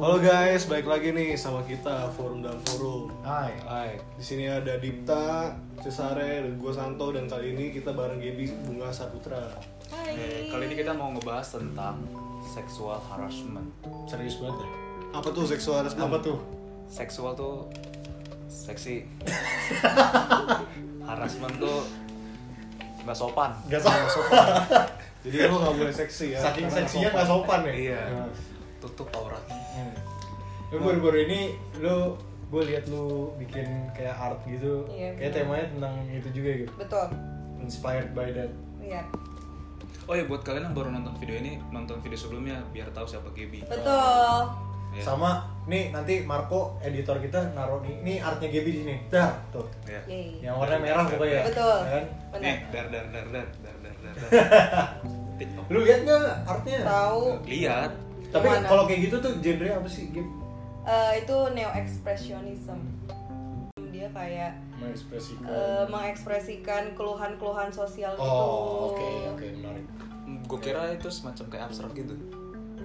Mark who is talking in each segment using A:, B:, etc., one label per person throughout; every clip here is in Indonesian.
A: Halo guys, balik lagi nih sama kita Forum dan Forum.
B: Hai.
A: Hai, di sini ada Dipta, Cesare, dan gue Santo dan kali ini kita bareng Gaby Bunga Saputra.
C: Hai.
D: Oke, Eh, kali ini kita mau ngebahas tentang sexual harassment.
B: Serius banget ya?
A: Apa tuh seksual harassment?
B: Apa tuh?
D: Seksual tuh seksi. harassment tuh nggak sopan.
B: Gak sopan.
A: Jadi lo gak boleh seksi ya.
B: Saking
A: karena
B: seksinya
A: nggak
B: gak sopan ya?
D: Iya.
B: Nah.
D: Tutup aurat.
B: Hmm. Lu baru-baru ini lu gue liat lu bikin kayak art gitu.
C: Iya,
B: kayak
C: bener.
B: temanya tentang itu juga gitu.
C: Betul.
B: Inspired by that.
C: Iya.
D: Oh ya buat kalian yang baru nonton video ini, nonton video sebelumnya biar tahu siapa Gaby.
C: Betul.
D: Iya.
B: Sama nih nanti Marco editor kita naruh nih, ini artnya Gaby di sini. Dah, tuh.
D: Iya.
C: Yeay.
B: Yang warna merah pokoknya ya.
C: Iya, Betul.
B: Ya Kan?
C: Benar.
D: Nih, dar dar dar dar dar dar dar. TikTok.
B: Lu lihat nggak artnya?
C: Tahu
D: Lihat.
B: Tapi
C: Yang mana?
B: kalau kayak gitu tuh genre apa sih? Gib?
C: eh, itu neo expressionism. Dia kayak
B: Mengekspresikan.
C: eh, mengekspresikan keluhan-keluhan sosial gitu.
B: oh, oke oke menarik.
D: Gue kira itu semacam kayak abstrak gitu.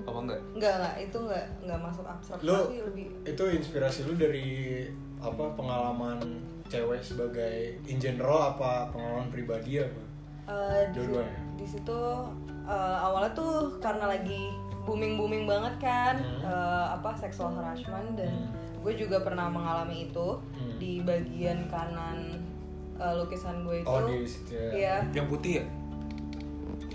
D: Apa enggak?
C: Enggak lah, itu enggak enggak masuk abstrak
B: lu
C: tapi lebih
B: itu inspirasi lu dari apa pengalaman cewek sebagai in general apa pengalaman pribadi apa
C: eh, di,
B: Dua-duanya.
C: di situ eh, awalnya tuh karena lagi booming booming banget kan
B: Hmm.
C: eh, apa sexual harassment dan
B: Hmm.
C: gue juga pernah mengalami itu
B: Hmm.
C: di bagian kanan eh, lukisan gue itu.
B: oh di situ ya.
C: Iya.
D: Yang putih ya? Yang putih.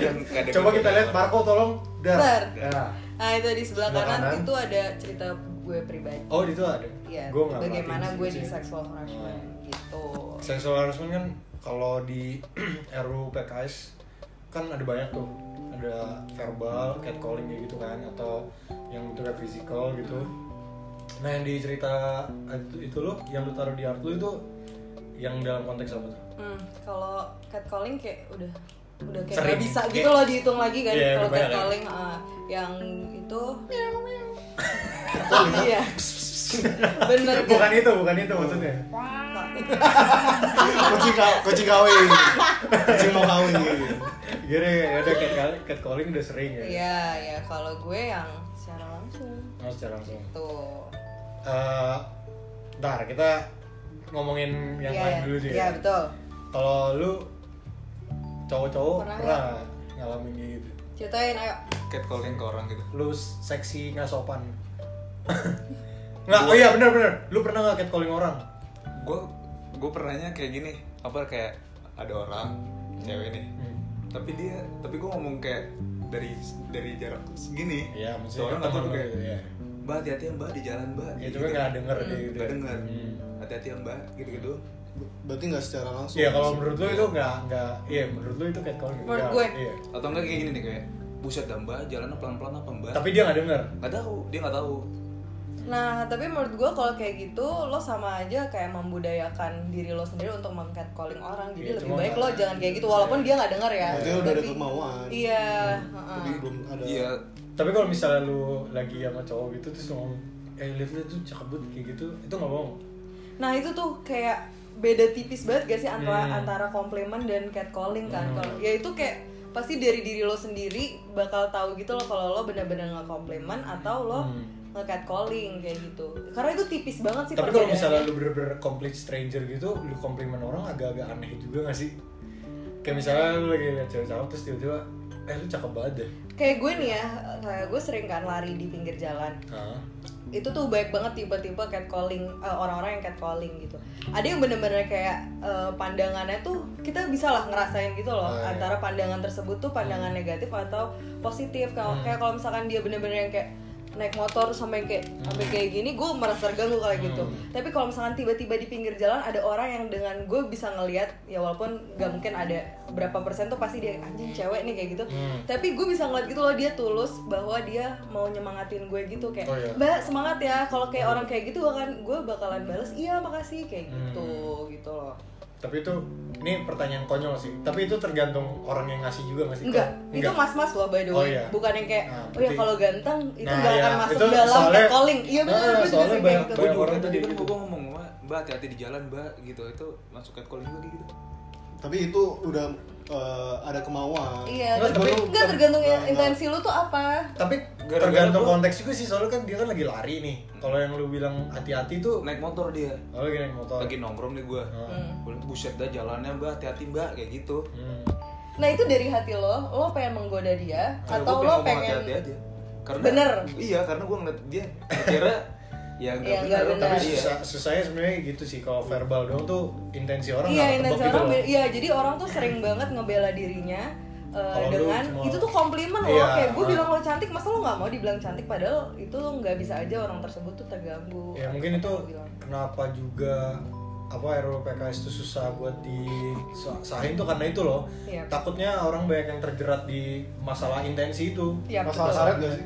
D: Yang nggak ada
B: coba kita
D: gambarnya.
B: lihat Marco tolong dar
C: Dar.
B: Nah.
C: Nah itu di sebelah
B: Sebelah
C: kanan,
B: kanan.
C: itu ada cerita gue pribadi.
B: oh di situ ada
C: Iya.
B: Gua nggak
C: bagaimana
B: perhatiin
C: gue
B: sih. Hmm.
C: di sexual harassment gitu.
B: Sexual harassment kan kalau di RU PKS kan ada banyak tuh ada verbal, catcalling kayak gitu kan atau yang bentuknya physical gitu. Nah yang di cerita itu, itu lo yang lu taruh di art lu itu yang dalam konteks apa tuh?
C: Hmm, kalau catcalling kayak udah udah kayak
B: Sering.
C: nggak bisa
B: Kayak-
C: gitu loh dihitung lagi kan
B: Iya,
C: kalau
B: udah banyak ya.
C: catcalling ah, yang itu iya bener kan?
B: bukan itu, bukan itu maksudnya.
A: Kucing, ka- kucing kawin. kucing mau kawin.
B: Gini ya udah catcall- catcalling udah sering ya.
C: iya iya kalau gue yang secara langsung
B: Nah, secara langsung.
C: tuh
B: Eh, ntar kita ngomongin yang lain
C: iya
B: dulu sih.
C: iya
B: ya.
C: betul
B: Kalau lu cowok-cowok
C: Pernah ya.
B: pernah, ngalamin kayak gitu?
C: ceritain ayo
D: catcalling ke orang gitu
B: Lu seksi nggak sopan? nggak? Oh iya benar-benar. Lu pernah nggak catcalling orang?
D: gue gue pernahnya kayak gini apa kayak ada orang cewek nih tapi dia tapi gue ngomong kayak dari dari jarak segini
B: Iya, mesti
D: Soalnya nggak tahu
B: temen lu
D: kayak
B: gitu, ya.
D: mbak hati-hati ya mbak di jalan mbak
B: Ya cuma nggak denger deh gitu.
D: nggak dengar
B: Hmm.
D: hati-hati ya mbak gitu gitu
A: Berarti nggak secara langsung.
B: Iya kalau menurut lu itu nggak nggak. Iya menurut lu itu catcalling.
C: Menurut
B: nggak,
C: gue.
B: Iya.
D: atau enggak kayak gini nih kayak buset dah mbak jalannya pelan-pelan apa mbak
B: Tapi dia nggak denger.
D: nggak tahu dia nggak tahu
C: Nah, tapi menurut gue kalau kayak gitu, lo sama aja kayak membudayakan diri lo sendiri untuk mengcat calling orang. Jadi
B: Iya,
C: lebih
B: cuma
C: baik lo
B: nggak- iya.
C: jangan kayak gitu, walaupun dia nggak denger ya.
A: Berarti udah ada
C: Tapi-
A: kemauan. Hmm.
C: Iya. heeh.
A: Tapi belum ada.
D: iya
B: Tapi kalau misalnya lu lagi sama cowok gitu terus lu ngomong, eh lihat lihat tuh cakep banget kayak gitu, itu nggak bohong.
C: Nah itu tuh kayak beda tipis banget gak sih antara
B: Hmm.
C: antara komplimen dan catcalling
B: Hmm.
C: kan? Kalau ya itu kayak pasti dari diri lo sendiri bakal tahu gitu loh kalau lo bener-bener nggak komplimen atau lo
B: Hmm.
C: nge catcalling kayak gitu. Karena itu tipis banget sih.
B: Tapi kalau
C: perbedaannya.
B: misalnya lu bener-bener complete stranger gitu, lu komplimen orang agak-agak aneh juga gak sih? Kayak misalnya lu lagi liat cewek cakep terus tiba-tiba, eh lu cakep banget deh.
C: kayak gue nih ya, kayak gue sering kan lari di pinggir jalan.
B: Hah?
C: itu tuh banyak banget tiba-tiba catcalling eh, orang-orang yang catcalling gitu ada yang bener-bener kayak eh, pandangannya tuh kita bisa lah ngerasain gitu
B: Oh,
C: loh
B: iya. Hmm.
C: antara pandangan tersebut tuh pandangan negatif atau positif kalau kayak kalau misalkan dia bener-bener yang kayak naik motor sampai kayak
B: Hmm.
C: sampai kayak gini gue merasa terganggu kayak gitu tapi kalau misalkan tiba-tiba di pinggir jalan ada orang yang dengan gue bisa ngelihat ya walaupun gak mungkin ada berapa persen tuh pasti dia anjing cewek nih kayak gitu
B: Hmm.
C: tapi gue bisa ngeliat gitu loh dia tulus bahwa dia mau nyemangatin gue gitu kayak
B: Oh, iya. Hmm.
C: Mbak semangat ya. Kalau kayak orang kayak gitu akan gue bakalan bales iya makasih kayak gitu gitu loh.
B: Tapi itu, ini pertanyaan konyol sih. Tapi itu tergantung orang yang ngasih juga gak sih?
C: Enggak, itu mas-mas loh by the way.
B: Oh, iya.
C: Bukan yang kayak
B: Nah,
C: oh ya
B: berarti-
C: kalau ganteng itu
B: Nah,
C: nggak
B: iya.
C: akan masuk
B: Itu
C: dalam
B: soalnya-
C: soalnya, calling. Iya
B: Nah,
C: benar gue juga
B: soalnya
C: sering kayak
B: banyak-
C: gitu.
D: gue
B: Banyak
D: juga
B: orang
D: tadi
B: kayak
D: Iya, kan
B: gitu.
D: gue ngomong mbak hati-hati di jalan mbak gitu itu masuk catcalling juga gitu
A: tapi itu udah eh, ada kemauan
C: Iya,
B: Nggak,
C: tapi
B: tapi-
C: enggak tergantung
B: Nah,
C: ya
A: Nggak, nggak.
C: intensi lu tuh apa.
B: tapi
D: Gara-gara
B: tergantung
D: gua-
B: konteks juga sih soalnya kan dia kan lagi lari nih kalau yang lu bilang hati-hati tuh
D: naik motor dia
B: oh, lagi naik motor
D: lagi nongkrong nih gue
B: Hmm.
D: buset dah jalannya mbak hati-hati mbak kayak gitu
B: Hmm.
C: Nah, itu dari hati lo, lo pengen menggoda dia
D: Kalau
C: atau
D: gua
C: lo
D: ngomong
C: pengen
D: hati-hati aja karena
C: Bener.
D: iya karena gue ngeliat dia akhirnya ya nggak
C: Iya,
D: bener,
C: nggak bener.
D: tapi
B: tapi
D: iya
B: susah susahnya sebenarnya gitu sih kalau verbal doang tuh intensi orang
C: Iya,
B: nggak ketebak
C: intensi
B: gitu
C: orang,
B: loh.
C: be- iya jadi orang tuh sering banget ngebela dirinya eh,
B: Kalau lu
C: dengan
B: cuma-
C: itu tuh komplimen
B: Iya.
C: loh kayak gue bilang lo cantik masa lo nggak mau dibilang cantik padahal itu lo nggak bisa aja orang tersebut tuh terganggu
B: ya mungkin itu
C: Lo bilang.
B: kenapa juga apa RUU PKS itu susah buat disahin tuh karena itu loh
C: Iya.
B: takutnya orang banyak yang terjerat di masalah intensi itu
C: Iya,
A: masalah
C: betul.
A: karet gak sih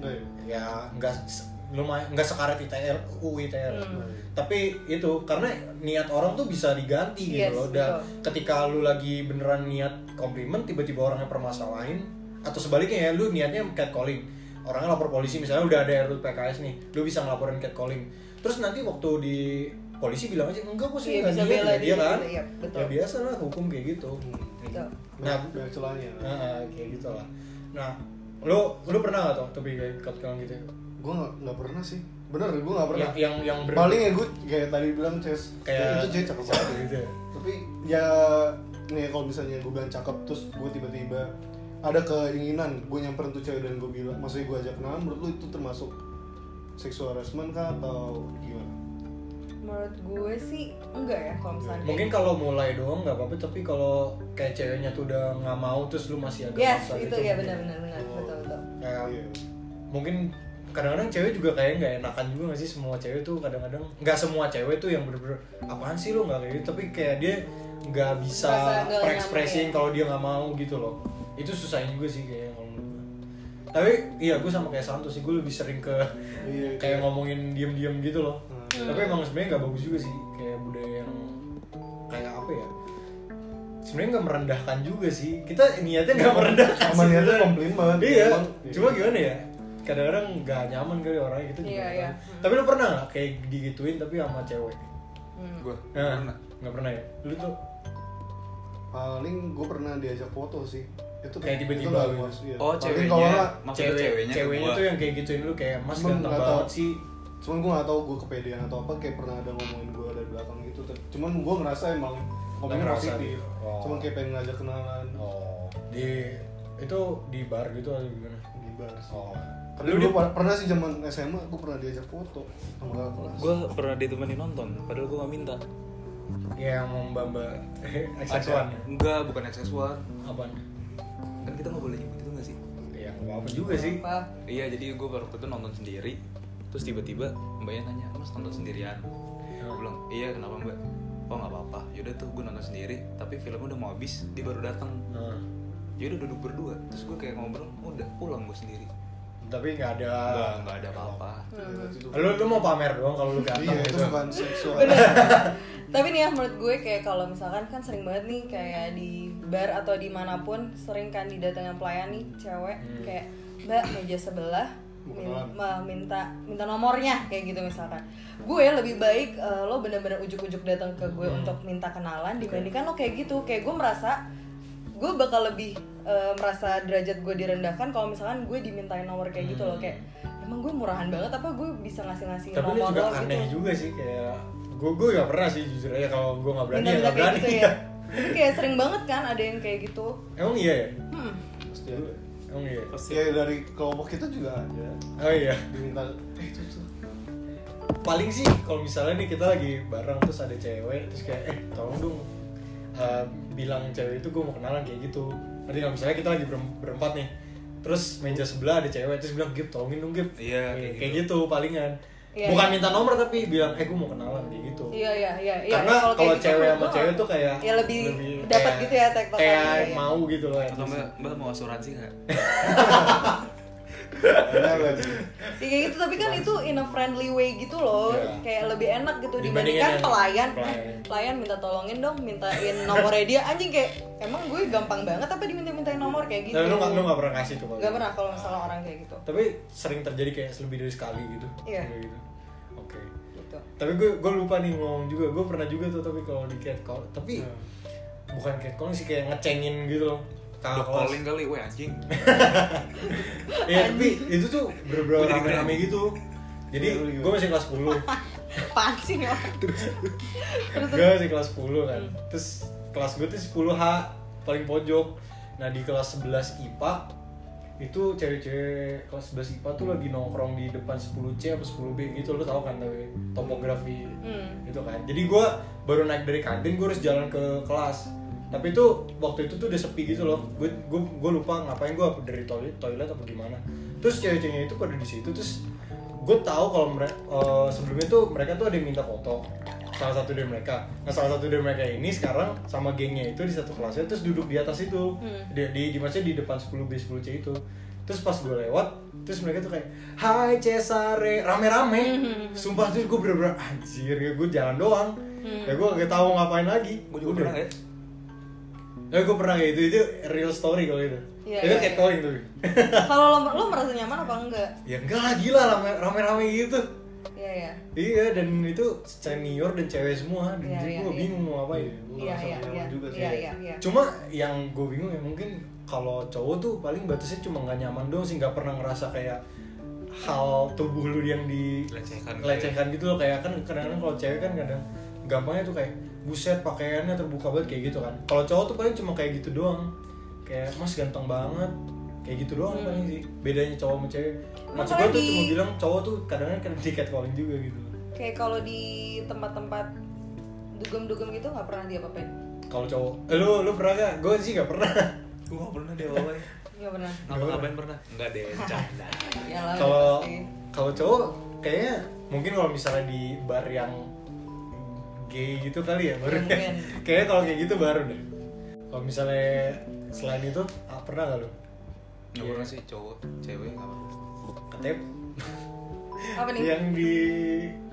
A: Nggak ya?
B: ya nggak se- lumayan nggak sekaret ITR UU ITR
C: Hmm.
B: tapi itu karena niat orang tuh bisa diganti gitu
C: Yes,
B: loh dan
C: betul.
B: ketika lu lagi beneran niat komplimen tiba-tiba orangnya permasalahin atau sebaliknya ya lu niatnya catcalling orangnya lapor polisi misalnya udah ada RUU PKS nih lu bisa ngelaporin catcalling terus nanti waktu di polisi bilang aja enggak kok sih nggak
C: Iya, bisa
B: niat,"
C: bela
B: gitu,
C: diri,
B: ya kan
C: iya, betul.
B: ya biasa lah hukum kayak gitu
C: Betul.
A: nah
B: Nah,
A: dari celahnya
B: nah, kayak gitu lah nah lu lu pernah gak tau tapi kayak catcalling gitu
A: gue nggak nggak pernah sih bener gue nggak pernah
B: yang yang yang ber-
A: paling ya gue kayak tadi bilang Ces
B: kayak
A: itu Ces cakep banget
B: gitu ya.
A: tapi ya nih kalau misalnya gue bilang cakep terus gue tiba-tiba ada keinginan gue nyamperin tuh cewek dan gue bilang maksudnya gue ajak kenalan menurut lu itu termasuk seksual harassment kah atau gimana?
C: menurut gue sih enggak ya kalau misalnya
B: Mungkin kalau mulai doang nggak apa-apa, tapi kalau kayak ceweknya tuh udah nggak mau terus lu masih agak
C: yes
B: maksa
C: itu
B: gitu.
C: ya benar-benar benar betul betul
B: Kayak
A: Iya.
B: mungkin kadang-kadang cewek juga kayak nggak enakan juga nggak sih semua cewek tuh kadang-kadang nggak semua cewek tuh yang bener-bener apaan sih lu nggak kayak gitu tapi kayak dia nggak bisa
C: Merasa nggak nyaman,
B: perekspresiin
C: ya.
B: kalau dia nggak mau gitu loh itu susahnya juga sih kayaknya kalau menurut gue tapi iya gue sama kayak Santo sih gue lebih sering ke
A: Iya,
B: kayak
A: kayak-
B: ngomongin diem-diem gitu loh
A: Hmm.
B: tapi emang sebenarnya nggak bagus juga sih kayak budaya yang kayak apa ya sebenarnya nggak merendahkan juga sih kita niatnya nggak merendahkan
A: Iya. Sama
B: sih
A: niatnya
B: sebenarnya.
A: komplimen.
B: iya
A: Emang-
B: cuma gimana ya kadang-kadang nggak nyaman kali orangnya gitu juga
C: Iya,
B: kan.
C: iya.
B: tapi lu pernah nggak kayak digituin tapi sama cewek
C: Hmm.
D: gue
B: Nah,
D: pernah
B: nggak pernah ya lu tuh
A: paling gue pernah diajak foto sih itu
B: Kayak tiba-tiba
A: itu nggak
B: gitu.
A: gua- iya. Paling
D: oh
A: kalau
D: ceweknya
A: nggak,
D: maksudnya ceweknya ke
B: ceweknya
D: gua.
B: tuh yang kayak gituin lu kayak mas
A: Emang
B: ganteng
A: nggak tahu.
B: banget sih
A: cuman gue nggak tahu gue kepedean atau apa kayak pernah ada ngomongin gue dari belakang gitu Tapi- cuman gue ngerasa emang komennya
B: ngerasa
A: positif
B: gitu. Oh.
A: cuman kayak pengen ngajak kenalan
B: oh di itu di bar gitu atau gimana
A: di bar sih.
B: oh
A: tapi lu pernah sih zaman SMA gue pernah diajak foto sama kakak kelas
D: gue pernah ditemani nonton padahal gue gak minta
B: yang membamba
D: Ada-
B: eksakuan
D: enggak bukan aksesuar
B: apaan
D: kan kita nggak boleh nyebut itu nggak sih
B: ya nggak apa juga sih
C: apa
D: iya jadi gue waktu itu nonton sendiri terus tiba-tiba mbaknya nanya mas nonton sendirian gue bilang iya kenapa mbak oh nggak apa-apa yaudah tuh gue nonton sendiri tapi filmnya udah mau habis dia baru datang
B: Nah,
D: yaudah duduk berdua terus gue kayak ngobrol udah pulang gue sendiri
B: tapi nggak ada
D: nggak nggak ada apa-apa
B: lu lu mau pamer doang kalau lu ganteng
A: iya itu
B: gitu
A: bukan seksual
C: tapi nih ya menurut gue kayak kalau misalkan kan sering banget nih kayak di bar atau dimanapun sering kan didatengin pelayan nih cewek
B: Hmm.
C: kayak mbak meja sebelah min- ma- minta minta nomornya kayak gitu misalkan gue lebih baik eh, lo bener-bener ujuk-ujuk datang ke gue
B: Hmm.
C: untuk minta kenalan dibandingkan lo kayak gitu kayak gue merasa gue bakal lebih eh, merasa derajat gue direndahkan kalau misalkan gue dimintain nomor kayak gitu loh kayak emang gue murahan banget apa gue bisa ngasih-ngasih
B: Hmm. tapi lu
C: nomor
B: juga
C: lo Gitu.
B: aneh juga sih kayak gue gue nggak pernah sih jujur aja kalau gue nggak berani ya
C: Minta-minta
B: nggak
C: kayak
B: berani
C: gitu ya. Tapi kayak sering banget kan ada yang kayak gitu.
B: emang iya ya
C: Hmm.
A: pasti ada
B: emang iya
A: ya dari kelompok kita juga ada
B: oh iya
A: diminta eh itu tuh
B: paling sih kalau misalnya nih kita lagi bareng terus ada cewek terus kayak eh tolong dong eh, bilang cewek itu gue mau kenalan kayak gitu nanti kalau misalnya kita lagi berem- berempat nih terus meja sebelah ada cewek terus bilang gip tolongin dong gip
D: Iya,
B: kayak,
D: kayak
B: kayak gitu. palingan
C: Iya,
B: bukan
C: iya.
B: minta nomor tapi bilang eh gue mau kenalan kayak gitu
C: Iya iya iya. iya.
B: karena kalau
C: kayak gitu
B: cewek
C: menurut
B: sama
C: gua,
B: cewek tuh kayak
C: ya lebih, dapat
B: kayak-
C: gitu ya tektokan
B: kayak
C: gitu ya.
B: mau gitu loh
D: atau mbak mbak mau asuransi nggak
A: ada kan
C: Ya, kayak gitu tapi kan itu in a friendly way gitu loh.
B: Iya.
C: Kayak lebih enak gitu
B: Dibandingin
C: dibandingkan
B: yang-
C: pelayan.
B: pelayan.
C: Eh, Pelayan minta tolongin dong, mintain nomornya dia anjing kayak emang gue gampang banget apa diminta-mintain nomor kayak gitu.
B: tapi lu nggak lu nggak pernah ngasih tuh
C: Nggak pernah kalau misalnya orang kayak gitu.
B: tapi sering terjadi kayak lebih dari sekali gitu
C: Iya.
B: Kayak gitu. oke
C: Gitu. Hmm.
B: tapi gue gue lupa nih ngomong juga gue pernah juga tuh tapi kalau di catcall tapi bukan catcalling sih kayak ngecengin gitu loh kakak
D: Dog
B: kelas.
D: calling kali, weh anjing.
B: Iya tapi itu tuh
D: Gua
B: bener-bener
D: jadi
B: rame-rame gitu
A: Iya, lu
B: Jadi
A: gimana?
B: gue masih kelas 10
C: Apaan sih nih orang? Terus, Hmm.
B: Gue masih kelas 10 kan Terus kelas gue tuh 10H Paling pojok Nah di kelas 11 IPA Itu cewek-cewek kelas 11 IPA tuh lagi nongkrong di depan 10C apa 10B gitu Lo tau kan tapi topografi
C: Hmm.
B: gitu kan Jadi gue baru naik dari kantin gue harus jalan ke kelas tapi itu waktu itu tuh udah sepi gitu loh gue gue gue lupa ngapain gue dari toilet toilet apa gimana terus cewek-ceweknya itu pada di situ terus gue tahu kalau mereka sebelumnya tuh mereka tuh ada yang minta foto salah satu dari mereka nah salah satu dari mereka ini sekarang sama gengnya itu di satu kelasnya terus duduk di atas itu
C: Hmm.
B: di, di, di maksudnya di depan 10 B 10 C itu terus pas gue lewat terus mereka tuh kayak Hai Cesare rame-rame
C: Hmm.
B: sumpah terus gue bener-bener anjir ya gue jalan doang
C: Hmm.
B: ya gue gak tahu ngapain lagi
D: Gue juga pernah
B: Udah.
D: ya.
B: Eh gue pernah kayak itu, itu real story kalau itu
C: Iya,
B: Itu
C: iya,
B: catcalling tuh
C: Kalau lo, lo merasa nyaman apa enggak?
B: Ya enggak lah, gila rame- rame-rame gitu
C: Iya ya.
B: Iya, dan itu senior dan cewek semua Dan
C: Iya,
B: jadi
C: iya,
B: gue
C: iya.
B: bingung mau
A: Gua
B: ngapain
C: Iya
A: merasa
C: iya
A: nyaman
C: iya.
A: juga sih.
C: Iya iya iya.
B: Cuma yang gue bingung ya mungkin kalau cowok tuh paling batasnya cuma nggak nyaman doang sih nggak pernah ngerasa kayak hal tubuh lu yang
D: Dilecehkan.
B: dilecehkan gitu loh kayak kan kadang-kadang kalau cewek kan kadang gampangnya tuh kayak buset pakaiannya terbuka banget kayak gitu kan kalau cowok tuh paling cuma kayak gitu doang kayak mas ganteng banget kayak gitu doang paling sih bedanya cowok sama cewek maksud gue tuh
C: Apalagi-
B: cuma bilang cowok tuh kadang-kadang kena tiket calling juga gitu
C: Kayak kalau di tempat-tempat dugem-dugem gitu nggak pernah dia apain?
B: kalau cowok eh, lu lu pernah gak gue sih gak pernah
D: Gue gak pernah deh wawain.
C: Nggak pernah.
D: Ngapa-ngapain pernah? Enggak deh, canda.
C: Ya lah.
B: kalau
C: pasti.
B: kalau cowok kayaknya mungkin kalau misalnya di bar yang gay gitu kali ya baru
C: Mungkin.
B: kayaknya kalau kayak gitu baru deh kalau misalnya selain itu ah, pernah gak lu
D: Gak pernah sih cowok, cewek gak apa
B: ketep
C: Apa nih?
B: yang di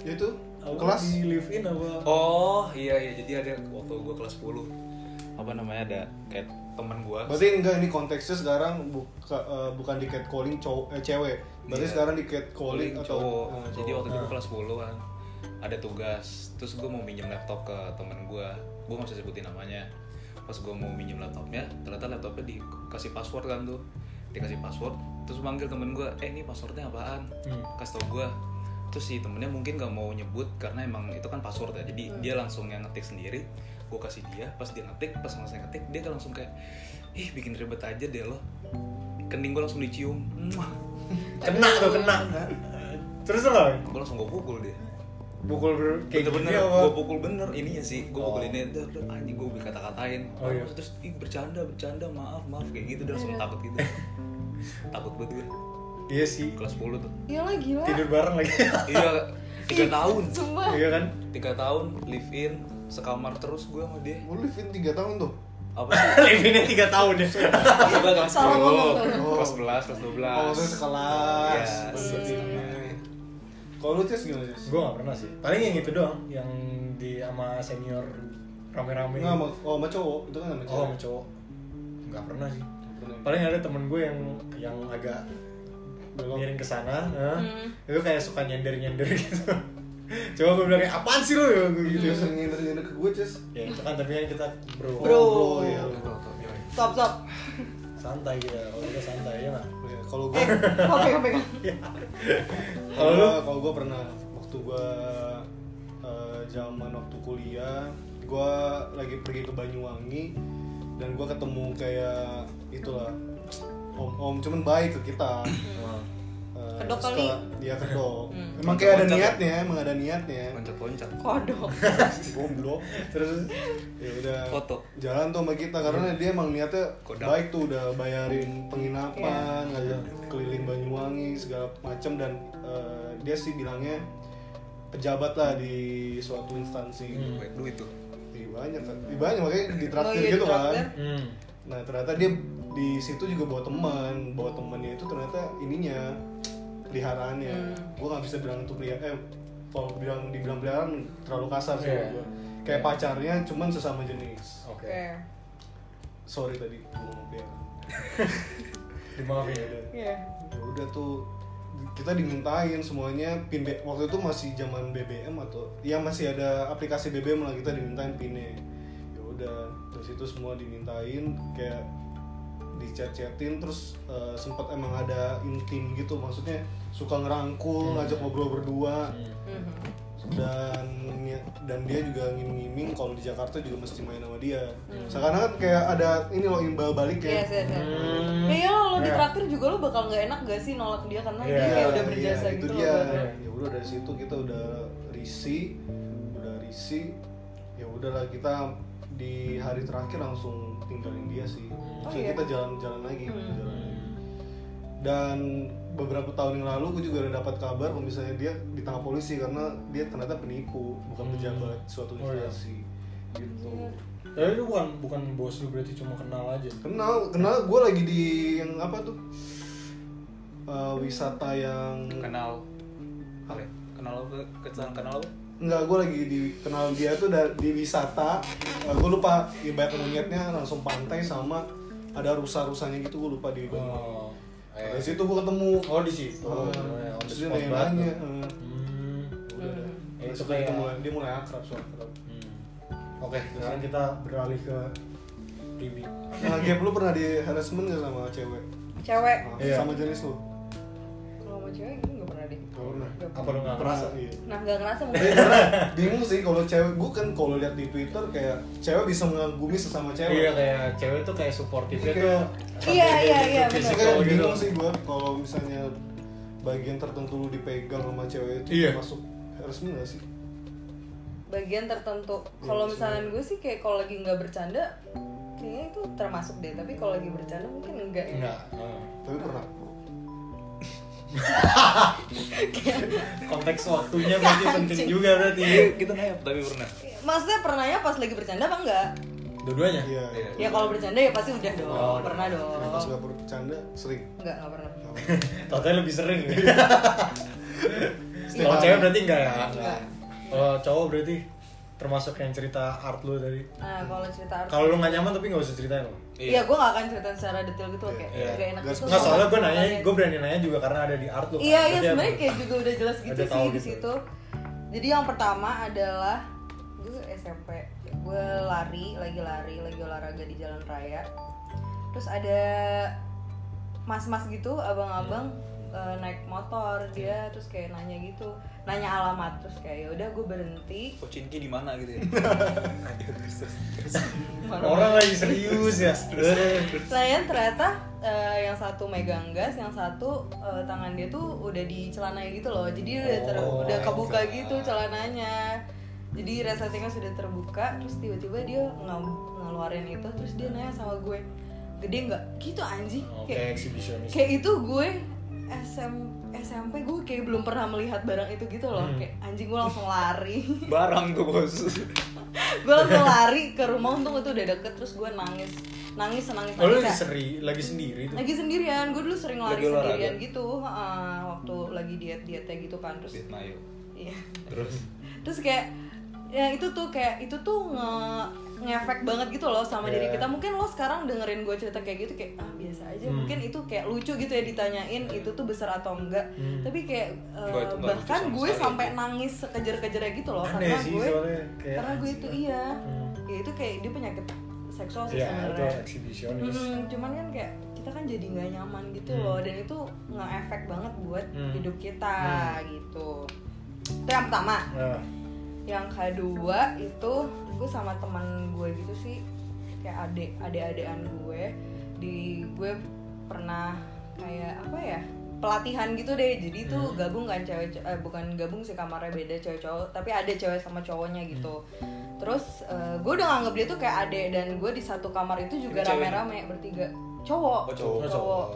A: Ya itu
B: apa,
A: kelas
B: di live in apa
D: Oh iya iya jadi ada waktu gue kelas 10 apa namanya ada kayak teman gue
A: berarti enggak ini konteksnya sekarang buka, eh, bukan di catcalling cowok eh, cewek berarti
D: Iya.
A: sekarang di catcalling atau
D: cowok. Nah,
A: eh,
D: Jadi
A: cowok.
D: waktu itu gue kelas 10 kan ada tugas terus gue mau minjem laptop ke teman gue gue nggak usah sebutin namanya pas gue mau minjem laptopnya ternyata laptopnya dikasih password kan tuh dikasih password terus manggil temen gue eh ini passwordnya apaan
B: Hmm.
D: kasih tau gue terus si temennya mungkin gak mau nyebut karena emang itu kan password ya jadi
B: Hmm.
D: dia langsung yang ngetik sendiri gue kasih dia pas dia ngetik pas selesai ngetik dia kan langsung kayak ih bikin ribet aja deh lo kening gue langsung dicium
B: kena tuh kena terus lo
D: gue langsung gue pukul dia
B: pukul ber- kayak gini
D: bener-bener
B: apa
D: gue pukul bener ininya sih gue
B: Oh.
D: pukul ini udah udah anjing gue dikata-katain
B: Oh, iya.
D: terus ih bercanda bercanda maaf maaf kayak gitu udah langsung takut gitu takut banget gue
B: iya sih
D: kelas 10 tuh
C: Ya lah gila.
B: tidur bareng lagi
D: iya tiga tahun
C: Sumpah.
B: iya kan
D: tiga tahun live in sekamar terus gue sama dia
A: Oh, Lu live in 3 tahun tuh
D: apa sih
B: live innya tiga tahun ya
D: Coba kelas
C: Salah
D: 10,
C: ngomong.
D: kelas 11, kelas 12
A: Oh, maksudnya sekelas.
D: Iya,
A: Berarti.
D: sekelas.
A: Kalau lu Cis gimana Cis?
B: gue gak pernah sih paling yang itu doang yang di sama senior rame-rame
A: Nggak, sama- oh sama cowok, itu kan sama
B: oh
A: cowok
B: sama cowok nggak pernah sih
A: Pernah.
B: paling ada temen gue yang yang agak
A: Belok.
B: miring ke sana nah,
C: Hmm.
B: itu kayak suka nyender nyender gitu coba gue bilang kayak apaan sih lu Gue gitu
A: Dia sering nyender-nyender ke gue Cis
B: ya itu kan tapi kan kita bro,
C: Hmm. Bro.
A: Oh, iya.
C: Stop stop.
B: santai gitu kalau kita santai ya nggak
A: Iya, Kalau
C: Eh,
A: gue
C: kok pegang-pegang?
A: kalau
B: Kalau lu?
A: gua- kalau gue pernah waktu gue zaman waktu kuliah gue lagi pergi ke Banyuwangi dan gue ketemu kayak itulah om om cuman baik ke kita
B: Nah,
A: Eh,
C: Kedok
A: setelah- iya kedok
C: Hmm.
A: emang kayak ada
D: Loncat ya?
A: niatnya emang ada niatnya
D: Loncat-loncat
C: Kodok.
A: goblok
B: terus
A: ya udah
D: Foto.
A: jalan tuh sama kita karena dia emang niatnya
D: Kodak.
A: baik tuh udah bayarin penginapan ngajak keliling Banyuwangi segala macem dan eh, dia sih bilangnya pejabat lah di suatu instansi gitu.
D: Gue duit tuh
A: Ih, banyak kan Ih, banyak makanya ditraktir
C: Oh, iya,
A: gitu kan
C: ditraktir.
B: hmm,
A: nah ternyata dia di situ juga bawa teman bawa temannya itu ternyata ininya peliharaannya
C: Hmm.
A: gue nggak bisa bilang itu pelihara eh kalau bilang dibilang peliharaan terlalu kasar sih
B: Iya.
A: buat gua. kayak
B: Iya.
A: pacarnya cuman sesama jenis
B: oke
C: Oke.
A: sorry tadi gua ngomong peliharaan
B: dimaafin
A: ya
B: ya
A: udah
C: Iya.
A: Ya udah tuh kita dimintain semuanya pin B- waktu itu masih zaman BBM atau ya masih ada aplikasi BBM lah kita dimintain pinnya ya udah udah terus itu semua dimintain kayak dicet-cetin terus eh, sempet emang ada intim gitu maksudnya suka ngerangkul
B: Hmm.
A: ngajak ngobrol berdua
B: Hmm.
C: Mhm.
A: dan dan dia juga ngiming-ngiming kalau di Jakarta juga mesti main sama dia
C: Hmm. Iya,
A: seakan kan kayak ada ini loh imbal balik ya
C: Yes, yes, yes.
B: Hmm.
C: Ya iya lo, lo
B: Ya.
C: ditraktir juga lo bakal nggak enak gak sih nolak dia karena
B: Iya,
C: dia kayak udah
A: iya,
C: berjasa
A: itu
C: gitu loh
A: dia
C: buat lo.
A: ya udah dari situ kita udah risih udah risih ya udahlah kita di hari terakhir langsung tinggalin dia sih
B: Oh,
A: Maksudnya
C: iya.
A: kita jalan-jalan lagi
C: Hmm.
A: jalan lagi. dan beberapa tahun yang lalu gue juga udah dapat kabar kalau misalnya dia ditangkap polisi karena dia ternyata penipu bukan
B: Hmm.
A: pejabat suatu
B: Oh, iya.
A: instansi gitu
B: Tapi itu bukan bukan bos lu berarti cuma kenal aja.
A: kenal kenal gue lagi di yang apa tuh Eh, wisata yang
D: kenal apa ya? kenal apa kesan kenal apa
A: Enggak, gue lagi di kenal dia tuh da- di wisata. gue lupa ya banyak monyetnya langsung pantai sama ada rusa-rusanya gitu gue lupa di Bandung.
B: Oh.
A: Dari
B: Eh.
A: situ gue ketemu.
B: Oh di situ.
A: Eh,
B: ya, on the
A: terus dia
B: spot banget
A: nanya-nanya.
B: tuh.
A: eh.
B: Hmm.
A: Udah, udah.
B: Eh,
A: Terus
B: itu
A: dia
B: kayak-
A: mulai- dia mulai akrab soal akrab.
B: Hmm. Oke, sekarang kita beralih ke Bibi.
A: Nah, Gap, lu pernah di harassment gak sama cewek?
C: Cewek,
A: Nah,
B: Iya.
A: Sama jenis lu?
C: kalau sama cewek gue nggak pernah deh.
A: Gak pernah.
C: Nggak
B: Apa lu nggak
A: Pernah, iya.
C: Nah nggak ngerasa
A: Eh,
C: mungkin.
A: karena bingung sih kalau cewek gue kan kalau lihat di Twitter kayak cewek bisa mengagumi sesama cewek.
B: Iya kayak cewek tuh kayak
A: Iya.
B: supportifnya tuh.
C: Iya,
B: sampai
C: iya,
B: dia
C: iya,
B: tuh
A: Sih
B: physical
A: kayak
B: gitu.
A: bingung sih gue kalau misalnya bagian tertentu lu dipegang sama cewek itu
B: Iya.
A: masuk resmi gak sih?
C: Bagian tertentu. Kalau misalnya gue sih kayak kalau lagi nggak bercanda, kayaknya itu termasuk deh. Tapi kalau lagi bercanda mungkin enggak ya.
B: Enggak. eh.
A: Tapi pernah.
B: Konteks waktunya berarti penting juga berarti.
D: Iya, kita naik tapi pernah
C: Maksudnya pernahnya pas lagi bercanda apa enggak?
B: Dua-duanya.
A: Iya.
D: Iya.
C: Ya kalau bercanda ya pasti udah dong.
B: Oh,
C: pernah dong.
A: Nah, Pas gak bercanda sering.
C: Enggak, enggak pernah.
B: Totalnya lebih sering.
A: Setiap
B: Kalau
A: hari.
B: cewek berarti enggak ya?
C: Enggak.
B: Kalau cowok berarti termasuk yang cerita art lu tadi.
C: Nah, kalau cerita artis-
B: Kalau lu nggak nyaman tapi nggak usah ceritain lo.
C: Iya, gue gak akan cerita secara detail gitu loh, kayak
B: Iya.
C: gak enak
A: Nggak,
C: gitu.
B: Nggak soalnya gue nanya,
C: Makanya-
B: gue berani nanya juga karena ada di art lu. kan.
C: Iya, iya
B: Berarti
C: sebenarnya
B: ada-
C: kayak juga udah jelas gitu
B: ada
C: sih
B: tahu
C: di
B: gitu.
C: situ. Jadi yang pertama adalah gue SMP, gue lari, lagi lari, lagi olahraga di jalan raya. Terus ada mas-mas gitu, abang-abang
B: Hmm.
C: eh, naik motor
B: Iya.
C: dia terus kayak nanya gitu nanya alamat terus kayak yaudah gue berhenti
D: kok Cinki di mana gitu ya
B: Orang lagi serius ya. Eh,
C: Selain Nah, ya, ternyata eh, yang satu megang gas, yang satu eh, tangan dia tuh udah di celananya gitu loh. Jadi udah ter-
B: Oh,
C: udah kebuka
B: enggak.
C: gitu celananya. Jadi resletingnya sudah terbuka, terus tiba-tiba dia nge- ngeluarin itu, terus dia nanya sama gue, gede nggak? Gitu anjing.
B: Oke,
C: Kayak,
B: eksibisionis.
C: kayak itu gue SM, SMP gue kayak belum pernah melihat barang itu gitu loh.
B: Hmm.
C: Kayak anjing gue langsung lari.
D: barang tuh bos
C: gue langsung lari ke rumah untung itu udah deket, terus gue nangis, nangis, nangis,
B: Oh, lu
C: nangis. ya.
B: lagi seri, lagi sendiri tuh.
C: lagi sendirian gue dulu sering lari
D: Lagi olahraga.
C: sendirian gitu heeh, waktu lagi diet dietnya gitu kan terus
D: Vietnam yuk
C: iya
D: terus
C: terus kayak ya itu tuh kayak itu tuh nge ngefek banget gitu loh sama diri
B: Iya.
C: kita mungkin lo sekarang dengerin gue cerita kayak gitu kayak ah biasa
B: Hmm.
C: aja
B: Iya.
C: mungkin itu kayak lucu gitu ya ditanyain itu tuh besar atau enggak
B: Hmm.
C: tapi kayak eh,
D: Enggak, itu enggak
C: bahkan
D: lucu sama
C: gue
D: sekali.
C: sampai nangis sekejar-kejarnya gitu loh
B: Aneh
C: karena
B: sih
C: gue
B: soalnya kayak
C: karena gue
B: anjing
C: itu
B: lah.
C: iya
B: Hmm.
C: ya itu kayak dia penyakit seksual sih
B: Iya, itu
C: sebenarnya
B: eksibisionis.
C: Hmm, cuman kan kayak kita kan jadi nggak nyaman gitu
B: Hmm.
C: loh dan itu nge-efek banget buat
B: Hmm.
C: hidup kita
B: Hmm.
C: gitu. Itu yang pertama.
B: Nah,
C: Yang kedua itu gue sama teman gue gitu sih kayak adik adik-adikan gue di gue pernah kayak apa ya pelatihan gitu deh jadi itu
B: Hmm.
C: gabung kan cewek eh, bukan gabung sih kamarnya beda cewek cowok tapi ada cewek sama cowoknya gitu terus eh, gue udah nganggep dia tuh kayak adik dan gue di satu kamar itu juga
D: Ini cewek?
C: rame-rame bertiga
D: Oh,
C: cowok
D: cowok.
B: Oh, cowok.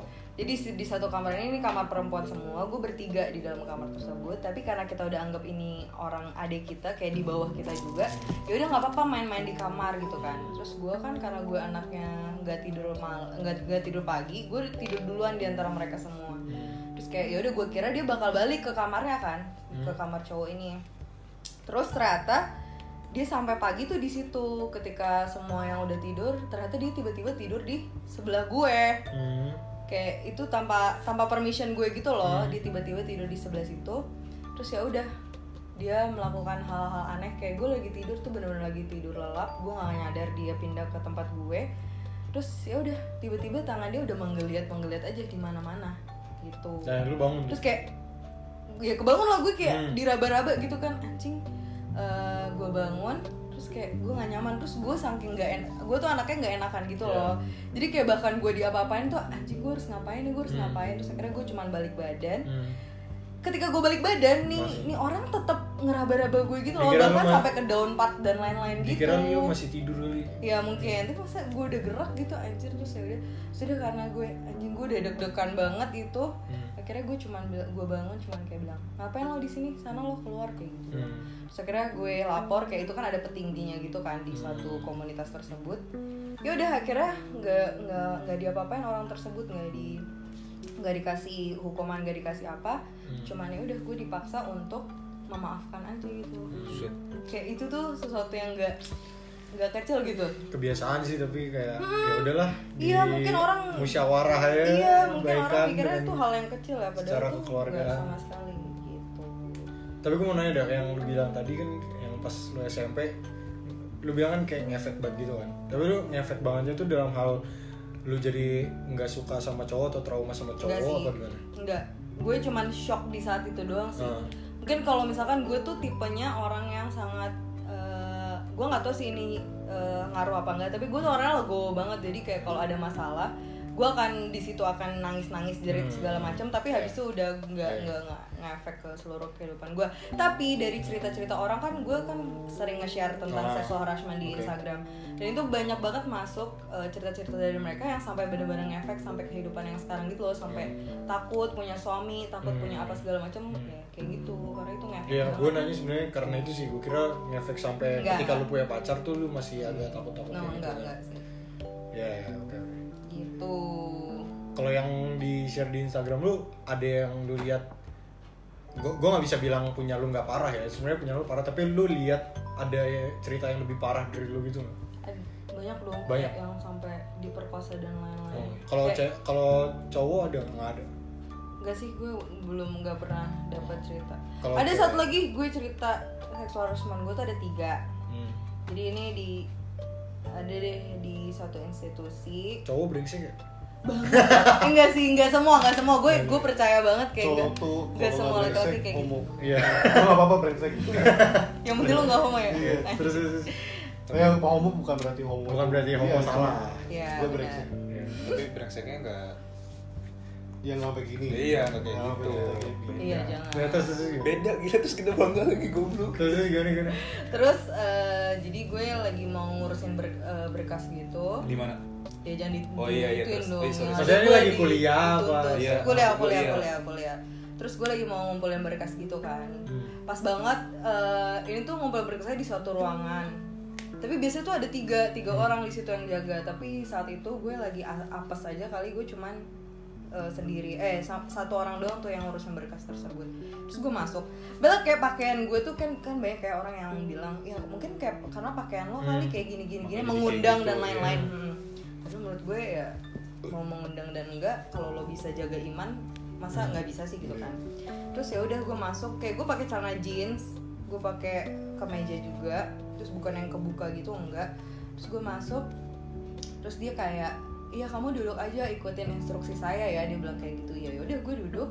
C: jadi si- di satu kamar ini, ini kamar perempuan semua gue bertiga di dalam kamar tersebut tapi karena kita udah anggap ini orang adik kita kayak di bawah kita juga ya udah nggak apa-apa main-main di kamar gitu kan terus gue kan karena gue anaknya nggak tidur mal nggak nggak tidur pagi gue tidur duluan di antara mereka semua terus kayak ya udah gue kira dia bakal balik ke kamarnya kan ke kamar cowok ini terus ternyata dia sampai pagi tuh di situ ketika semua yang udah tidur ternyata dia tiba-tiba tidur di sebelah gue
B: Hmm.
C: kayak itu tanpa tanpa permission gue gitu loh dia tiba-tiba tidur di sebelah situ terus ya udah dia melakukan hal-hal aneh kayak gue lagi tidur tuh bener-bener lagi tidur lelap gue nggak nyadar dia pindah ke tempat gue terus ya udah tiba-tiba tangan dia udah menggeliat menggeliat aja di mana-mana gitu
B: dan Nah, lu bangun
C: terus kayak ya kebangun lah gue kayak
B: Hmm.
C: diraba-raba gitu kan anjing Eh, gue bangun terus kayak gue gak nyaman terus gue saking gak enak gue tuh anaknya gak enakan gitu
B: Ya.
C: loh jadi kayak bahkan gue diapa-apain tuh anjing gue harus ngapain nih gue harus
B: Hmm.
C: ngapain terus akhirnya gue cuman balik badan
B: Hmm.
C: ketika gue balik badan nih
B: Masih.
C: nih orang tetap ngeraba-raba gue gitu loh
B: Dikira lu
C: bahkan
B: ma-
C: sampai ke down part dan lain-lain gitu
B: dikira lu masih tidur kali
C: ya mungkin tapi masa gue udah gerak gitu anjir terus ya udah sudah karena gue anjing gue udah deg-degan banget itu
B: Hmm.
C: akhirnya gue cuman bila- gue bangun cuman kayak bilang ngapain lo di sini sana lo keluar kayak gitu
B: Hmm.
C: terus akhirnya gue lapor kayak itu kan ada petingginya gitu kan
B: Hmm.
C: di suatu komunitas tersebut ya udah akhirnya nggak nggak nggak diapa-apain orang tersebut nggak di nggak dikasih hukuman nggak dikasih apa
B: Hmm.
C: cuman ya udah gue dipaksa untuk memaafkan aja gitu
D: Buset.
C: kayak itu tuh sesuatu yang nggak nggak kecil gitu
B: kebiasaan sih tapi kayak ya udahlah
C: Iya,
B: di
C: mungkin orang
B: musyawarah ya
C: iya mungkin orang
B: baikan
C: pikirnya
B: dan-
C: itu hal yang kecil ya padahal
B: secara
C: tuh nggak
B: kekeluargaan.
C: sama sekali gitu
B: tapi gue mau nanya dah yang lu bilang tadi kan yang pas lu SMP lu bilang kan kayak ngefek banget gitu kan tapi lu ngefek bangetnya tuh dalam hal lu jadi nggak suka sama cowok atau trauma sama cowok
C: Enggak sih.
B: apa gimana
C: Enggak. Gue cuman shock di saat itu doang sih.
B: Hmm.
C: Mungkin kalau misalkan gue tuh tipenya orang yang sangat eh, gue nggak tahu sih ini eh, ngaruh apa enggak, tapi gue tuh orangnya legowo banget. Jadi kayak kalau ada masalah, gue akan di situ akan nangis-nangis jerit
B: Hmm.
C: segala macam, tapi habis itu udah nggak
B: Iya.
C: nggak nggak ngefek ke seluruh kehidupan gue. Tapi dari cerita-cerita orang kan gue kan sering nge-share tentang
B: Ah.
C: sexual harassment di
B: Oke.
C: Instagram dan itu banyak banget masuk eh, cerita-cerita dari mereka yang sampai bener-bener ngefek sampai kehidupan yang sekarang gitu loh sampai takut punya suami takut
B: Iya. Hmm.
C: punya apa segala macam
B: Hmm.
C: ya kayak gitu karena itu ngefek
B: ya
C: banget.
B: gue nanya sebenarnya karena itu sih gue kira ngefek sampai
C: Enggak.
B: ketika lu punya pacar tuh lu masih agak takut takut
C: no Nah, enggak enggak sih
B: ya kan? ya, oke oke
C: gitu
B: kalau yang di share di Instagram lu ada yang lu lihat gue gue nggak bisa bilang punya lu nggak parah ya sebenarnya punya lu parah tapi lu lihat ada cerita yang lebih parah dari lu gitu nggak?
C: Aduh, Eh, banyak dong kayak
B: Banyak.
C: yang sampai diperkosa dan lain-lain
D: Iya.
B: Oh, kalau
C: Kayak-
B: ce- kalau cowok ada nggak ada
C: Enggak sih, gue belum nggak pernah dapat cerita.
B: Kalau
C: ada
B: cewek?
C: satu lagi gue cerita seksual harassment gue tuh ada tiga.
D: Hmm.
C: Jadi ini di ada deh di satu institusi.
B: cowok brengsek ya
C: Eh, enggak sih, enggak semua, enggak semua. Gue gue percaya banget kayak
A: Iya, cowok
C: enggak-
A: tuh
C: enggak semua
A: kalau nggak
C: laki-laki
A: brengsek,
C: kayak gitu.
A: homo
B: iya
A: Lu nggak apa-apa brengsek
C: Yang penting lo nggak homo ya.
A: iya
B: terus terus terus.
A: ya homo bukan berarti homo
B: bukan berarti homo
A: Iya,
B: salah
C: Iya.
A: gue
C: benar.
A: brengsek
B: Iya.
D: tapi brengseknya nggak
A: yang sampai gini
D: iya nggak kayak
A: Nggak
D: gitu
A: sampai kayak gini.
C: Iya,
B: Nah,
C: jangan.
B: terus terus terus gimana?
D: beda gila terus kita bangga lagi goblok
B: terus terus gimana gimana
C: Terus eh, jadi gue lagi mau ngurusin ber- eh, berkas
B: Oh.
C: gitu.
D: di mana
C: Ya jangan di-
D: Oh, iya, iya,
C: digituin
D: terus-
C: dong.
D: eh, sorry,
C: Ada
B: sorry. Maksudnya ini
C: gue
B: lagi
C: di-
B: kuliah apa?
C: dituntut.
D: Iya.
C: Kuliah, kuliah,
D: Kuliah.
C: kuliah, kuliah. Terus gue lagi mau ngumpulin berkas gitu kan.
B: Hmm.
C: Pas banget eh, ini tuh ngumpulin berkasnya di suatu ruangan. Tapi biasanya tuh ada tiga tiga
B: Hmm.
C: orang di situ yang jaga. Tapi saat itu gue lagi a- apes aja kali gue cuman eh, sendiri eh sa- satu orang doang tuh yang ngurusin berkas tersebut terus gue masuk belak kayak pakaian gue tuh kan kan banyak kayak orang yang bilang ya mungkin kayak karena pakaian lo
B: Hmm.
C: kali kayak gini gini gini
D: Makanya
C: mengundang
D: jadi
C: dan
D: kayak gitu,
C: lain-lain Hmm. Tapi menurut gue ya mau mengundang dan enggak kalau lo bisa jaga iman masa
D: Hmm.
C: nggak bisa sih gitu kan terus ya udah gue masuk kayak gue pakai celana jeans gue pakai kemeja juga terus bukan yang kebuka gitu enggak terus gue masuk terus dia kayak iya kamu duduk aja ikutin instruksi saya ya dia bilang kayak gitu ya udah gue duduk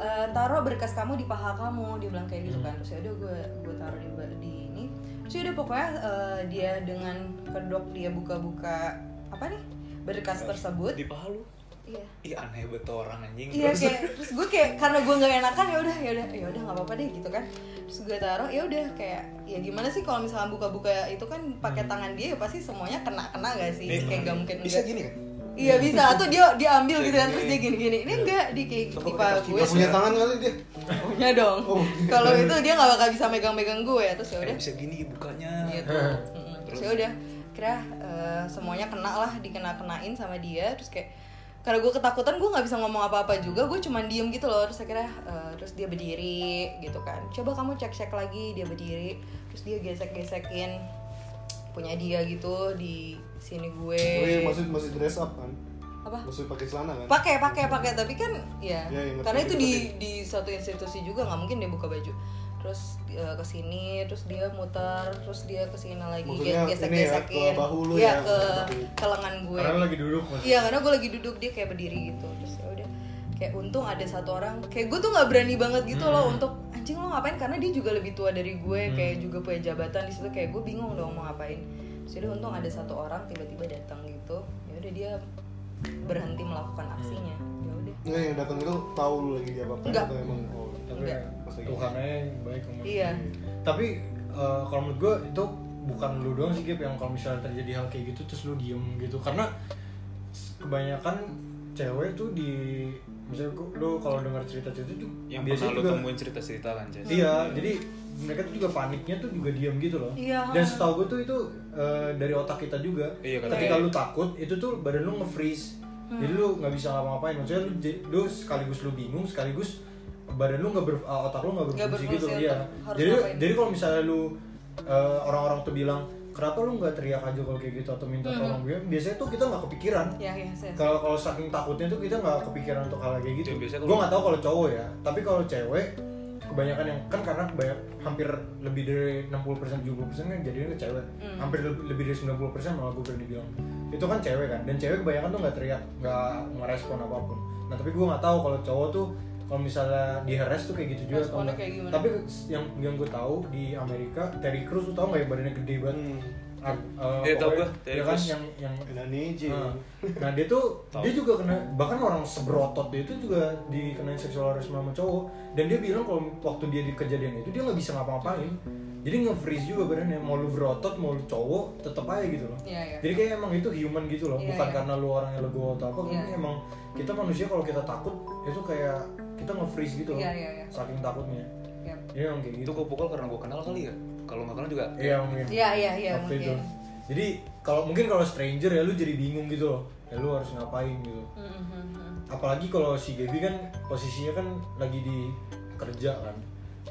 C: "Eh, taruh berkas kamu di paha kamu dia bilang kayak gitu
D: Hmm.
C: kan terus ya udah gue gue taruh di, di ini terus ya udah pokoknya eh, dia dengan kedok dia buka-buka apa nih berkas tersebut
D: di paha lu
C: iya
D: Ih aneh banget tuh orang anjing
C: Iya
D: Terus-
C: kayak terus gue kayak karena gue nggak enakan ya udah ya udah ya udah nggak apa-apa deh gitu kan terus gue taruh ya udah kayak ya gimana sih kalau misalnya buka-buka itu kan pakai tangan dia ya pasti semuanya kena kena gak sih
D: Hmm. Nih,
C: kayak nggak mungkin
D: bisa
C: enggak.
D: gini kan
C: iya bisa atau dia dia ambil
D: Bisa
C: gitu kan
D: gini.
C: terus dia gini-gini ini enggak di kayak
D: Coba Iya.
C: di
D: pakai
C: paha
D: kaki,
C: gue
A: Nggak punya tangan kali dia
C: punya dong
A: Oh.
C: kalau itu dia nggak bakal bisa megang-megang gue ya terus ya
D: Eh,
C: udah
D: bisa gini bukanya
C: gitu Mm-mm. terus ya udah kira eh, semuanya kena lah dikena kenain sama dia terus kayak karena gue ketakutan gue nggak bisa ngomong apa-apa juga gue cuman diem gitu loh terus akhirnya eh, terus dia berdiri gitu kan coba kamu cek cek lagi dia berdiri terus dia gesek gesekin punya dia gitu di sini gue
A: tapi masih masih dress up kan
C: apa
A: masih pakai celana kan
C: pakai pakai pakai tapi kan ya
A: Ya, ya, ngerti,
C: karena itu
A: ngerti,
C: di di suatu institusi juga nggak mungkin dia buka baju terus terus eh, ke sini terus dia muter terus dia ke sini lagi
A: Maksudnya
C: gesek
A: ini ya,
C: gesekin
A: ke bahu lu ya,
C: ke
A: ke bahu.
C: ke lengan gue
B: Karena lu lagi duduk maksudnya.
C: iya karena gue lagi duduk dia kayak berdiri gitu terus ya udah kayak untung ada satu orang kayak gue tuh nggak berani banget gitu loh
B: Hmm.
C: untuk anjing lo ngapain karena dia juga lebih tua dari gue kayak juga punya jabatan di situ kayak gue bingung dong mau ngapain terus ya udah untung ada satu orang tiba-tiba datang gitu ya udah dia berhenti melakukan aksinya ya udah
A: Nggak, yang datang itu tahu lu lagi dia apa
C: Nggak.
A: atau emang oh.
B: Tapi
C: Enggak.
B: Tuhan aja yang baik ngomong.
C: iya
B: Tapi eh, kalau menurut gue itu bukan lu doang sih Gap yang kalau misalnya terjadi hal kayak gitu terus lu diem gitu karena kebanyakan cewek tuh di misalnya gua- lu kalau dengar cerita-cerita tuh
D: yang pernah
B: biasanya
D: lu
B: juga-
D: temuin cerita-cerita kan Jess?
B: Iya, jadi mereka tuh juga paniknya tuh juga diam gitu loh.
C: Hmm. Iya.
B: Dan setahu gue tuh itu eh, dari otak kita juga.
D: Iya, katanya.
B: Ketika lu takut, itu tuh badan lu nge-freeze.
C: Hmm.
B: Jadi lu nggak bisa ngapa-ngapain. Maksudnya lu, j- lu sekaligus lu bingung, sekaligus badan lu nggak ber, eh, otak lu nggak
C: Nggak
B: berfungsi gitu.
C: berfungsi untuk
B: Iya.
C: harus
B: Jadi
C: ngapain.
B: jadi kalau misalnya lu eh, orang-orang tuh bilang kenapa lu nggak teriak aja kalau kayak gitu atau
C: Hmm.
B: minta tolong gue biasanya tuh kita nggak kepikiran
C: ya ya saya
B: kalau kalau saking takutnya tuh kita nggak kepikiran untuk hal kayak gitu
D: Ya, biasanya
B: gue
D: kalau-
B: nggak tahu kalau cowok ya tapi kalau cewek kebanyakan yang kan karena banyak hampir lebih dari 60% 70% kan jadinya ke cewek
C: Hmm.
B: hampir lebih, lebih dari 90% malah gue berani bilang itu kan cewek kan dan cewek kebanyakan tuh nggak teriak nggak ngerespon apapun nah tapi gue nggak tahu kalau cowok tuh kalau misalnya di harass tuh kayak gitu juga atau
C: Responnya
B: nggak.
C: kayak gimana?
B: tapi yang yang gue tahu di Amerika Terry Crews tuh tau nggak yang badannya gede banget
A: Hmm.
B: Ar- eh,
D: Iya, tahu
B: pokoknya-
D: gua, Terry
B: ya kan
D: Crews.
B: yang yang
A: Indonesia.
B: Nah, Nah dia tuh
D: Tahu.
B: dia juga kena bahkan orang seberotot dia itu juga dikenain seksual harassment sama cowok dan dia bilang kalau waktu dia di kejadian itu dia nggak bisa ngapa-ngapain jadi nge-freeze juga badannya mau lu berotot mau lu cowok tetep aja gitu loh
C: Iya, iya.
B: jadi kayak emang itu human gitu loh
C: Iya,
B: bukan
C: iya.
B: karena lu orangnya legowo atau apa
C: Iya.
B: tapi emang kita manusia kalau kita takut itu kayak kita nge-freeze gitu loh
C: Iya, iya, iya.
B: saking takutnya
C: Yap.
B: ya emang kayak
D: itu
B: gitu
D: gue pukul karena gue kenal kali ya kalau nggak kenal juga
B: iya mungkin
C: iya iya iya
B: waktu itu
C: mungkin
B: jadi kalau mungkin kalau stranger ya lu jadi bingung gitu loh ya lu harus ngapain gitu
C: Mm, mm, mm, mm.
B: apalagi kalau si Gaby kan posisinya kan lagi di kerja kan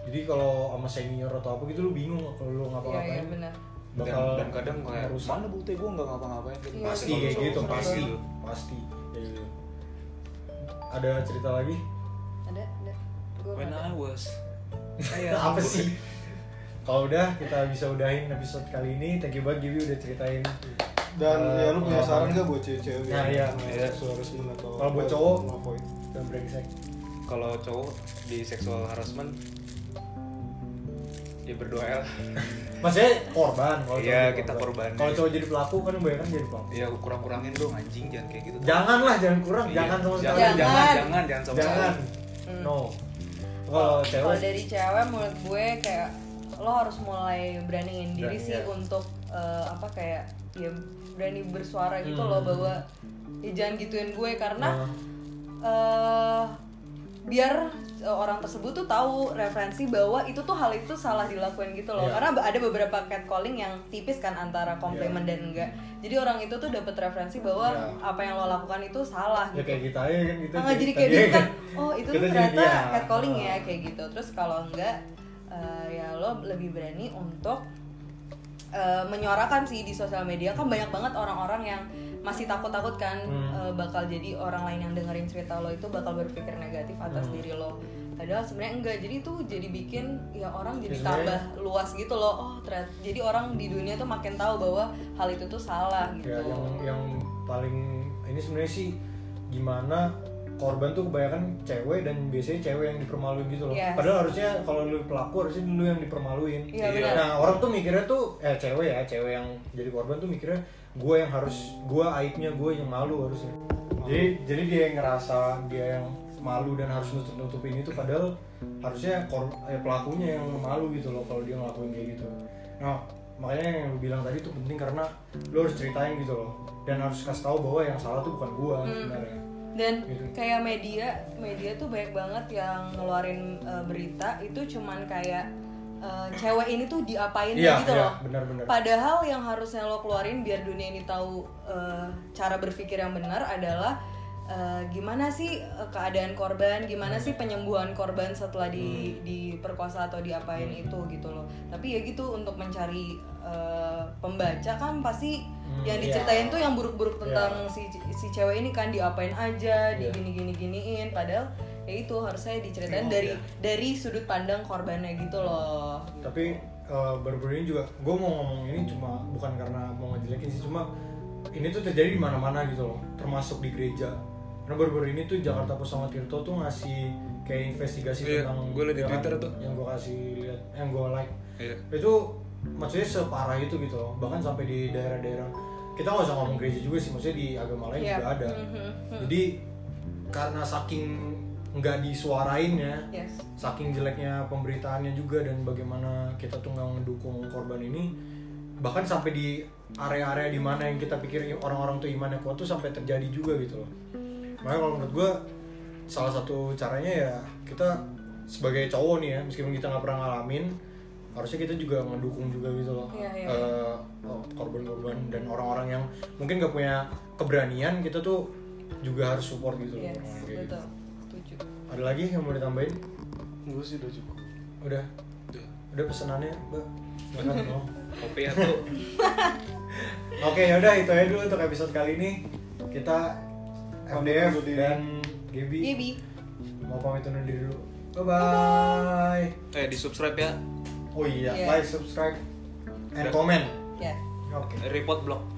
B: jadi kalau sama senior atau apa gitu lu bingung kalau lu
C: iya iya
B: ngapa-ngapain
C: benar
D: dan,
B: bakal
D: dan kan kadang kayak
B: rusak.
D: mana bukti gue nggak ngapa-ngapain
C: Iya,
B: pasti kayak
C: Kalau cowok
B: gitu
C: sering
B: pasti
D: gitu.
B: pasti kayak gitu. ada cerita lagi
C: ada ada gue
D: when I was Iya.
C: Iya.
B: apa sih kalau udah kita bisa udahin episode kali ini thank you banget Gaby udah ceritain
A: Dan ya
B: Eh,
A: lu punya
B: pengalaman.
A: saran nggak buat cewek-cewek?
B: Nah, iya.
A: Nah, Suarismen atau
B: Kalau buat cowok?
A: ngapain?
B: dan brengsek
D: kalau cowok di sexual harassment ya berdoa lah
B: maksudnya korban kalau
D: Iya,
B: cowok jadi
D: kita korbannya.
B: kalau cowok jadi pelaku kan banyak kan jadi pelaku
D: ya kurang-kurangin dong anjing jangan kayak gitu
B: janganlah jangan kurang
D: Iya,
B: jangan sama sekali
D: jangan
C: Jangan. Hmm.
D: jangan jangan jangan sama
B: jangan
D: sekali
B: no kalau
C: kalau
B: cewek
C: dari cewek menurut gue kayak lo harus mulai beraniin diri
B: Berani,
C: sih
B: ya.
C: untuk eh, apa kayak ya berani bersuara gitu
B: Hmm.
C: loh bahwa ya jangan gituin gue karena
B: Hmm.
C: eh biar eh, orang tersebut tuh tahu referensi bahwa itu tuh hal itu salah dilakuin gitu loh
B: Iya.
C: karena ada beberapa catcalling yang tipis kan antara komplimen dan enggak jadi orang itu tuh dapat referensi bahwa
B: Iya.
C: apa yang lo lakukan itu salah
B: ya
C: gitu
B: kayak kita aja kan kita
C: Ah, jadi kayak
B: tadi-
C: gitu kan oh itu
B: kita
C: tuh
B: jadi
C: ternyata
B: dia.
C: catcalling ya
B: Ah.
C: kayak gitu terus kalau enggak eh, ya lo lebih berani untuk eh, menyuarakan sih di sosial media kan banyak banget orang-orang yang masih takut-takut kan
B: Hmm.
C: eh, bakal jadi orang lain yang dengerin cerita lo itu bakal berpikir negatif atas
B: Hmm.
C: diri lo padahal sebenarnya enggak jadi itu jadi bikin ya orang jadi
B: sebenarnya-
C: tambah luas gitu loh oh ternyata jadi orang di dunia tuh makin tahu bahwa hal itu tuh salah gitu
B: ya yang yang paling ini sebenarnya sih gimana korban tuh kebanyakan cewek dan biasanya cewek yang dipermaluin gitu loh.
C: Yes.
B: Padahal harusnya kalau lu pelaku harusnya lu yang dipermaluin.
C: Iya, benar.
B: Nah orang tuh mikirnya tuh eh cewek ya cewek yang jadi korban tuh mikirnya gue yang harus gue aibnya gue yang malu harusnya. Jadi jadi dia yang ngerasa dia yang malu dan harus nutup nutupin itu padahal harusnya kor, eh, pelakunya yang malu gitu loh kalau dia ngelakuin kayak gitu. Nah makanya yang lu bilang tadi tuh penting karena lu harus ceritain gitu loh dan harus kasih tahu bahwa yang salah tuh bukan gua sebenarnya.
C: dan
B: Gitu.
C: kayak media media tuh banyak banget yang ngeluarin uh, berita itu cuman kayak uh, cewek ini tuh diapain
B: Iya,
C: gitu
B: iya,
C: loh
B: benar-benar.
C: padahal yang harusnya lo keluarin biar dunia ini tahu uh, cara berpikir yang benar adalah uh, gimana sih uh, keadaan korban gimana sih penyembuhan korban setelah
B: Hmm.
C: di diperkosa atau diapain itu gitu loh tapi ya gitu untuk mencari uh, pembaca kan pasti yang
B: iya.
C: diceritain tuh yang
B: Iya.
C: buruk-buruk tentang si si cewek ini kan diapain aja, di
B: Iya.
C: gini gini giniin padahal ya itu harusnya
D: Oh,
C: diceritain dari
D: iya.
C: dari sudut pandang korbannya gitu loh
B: tapi eh, baru-baru ini juga gue mau ngomong ini cuma bukan karena mau ngejelekin sih cuma ini tuh terjadi di mana-mana gitu loh termasuk di gereja karena baru-baru ini tuh Jakarta Kusama Tirto tuh ngasih kayak investigasi
D: Iya,
B: tentang
D: gua liat di
B: ya kan,
D: Twitter tuh.
B: yang gue kasih lihat yang gue like
D: Iya.
B: itu maksudnya separah itu gitu loh bahkan sampai di daerah-daerah kita nggak usah ngomong gereja juga sih maksudnya di agama lain
C: Iya.
B: juga ada
C: Mhm, mhm.
B: jadi karena saking nggak disuarain ya
C: yes
B: saking jeleknya pemberitaannya juga dan bagaimana kita tuh nggak mendukung korban ini bahkan sampai di area-area di mana yang kita pikir orang-orang tuh imannya kuat tuh sampai terjadi juga gitu loh makanya kalau menurut gue salah satu caranya ya kita sebagai cowok nih ya meskipun kita nggak pernah ngalamin harusnya kita juga mendukung juga gitu loh
C: Iya, iya.
B: eh, oh, korban-korban dan orang-orang yang mungkin nggak punya keberanian kita tuh juga harus support gitu loh
C: yes
B: orang-orang kayak gitu.
C: Iya, betul setuju
B: ada lagi yang mau ditambahin
A: gue sih udah cukup
B: Udah,
D: Udah.
B: udah pesenannya, Mbak. Silakan, Om.
D: kopi ya, atau
B: Oke, yaudah itu aja dulu untuk episode kali ini. Kita
A: Pamit
B: MDF
A: undur diri.
B: dan Gibi
C: Gibi
B: mau pamit undur diri dulu. Bye bye.
D: eh di subscribe ya
B: Oh iya,
C: Iya.
B: like, subscribe, and
D: Dan-
B: comment.
C: yes
B: Oke.
D: report blog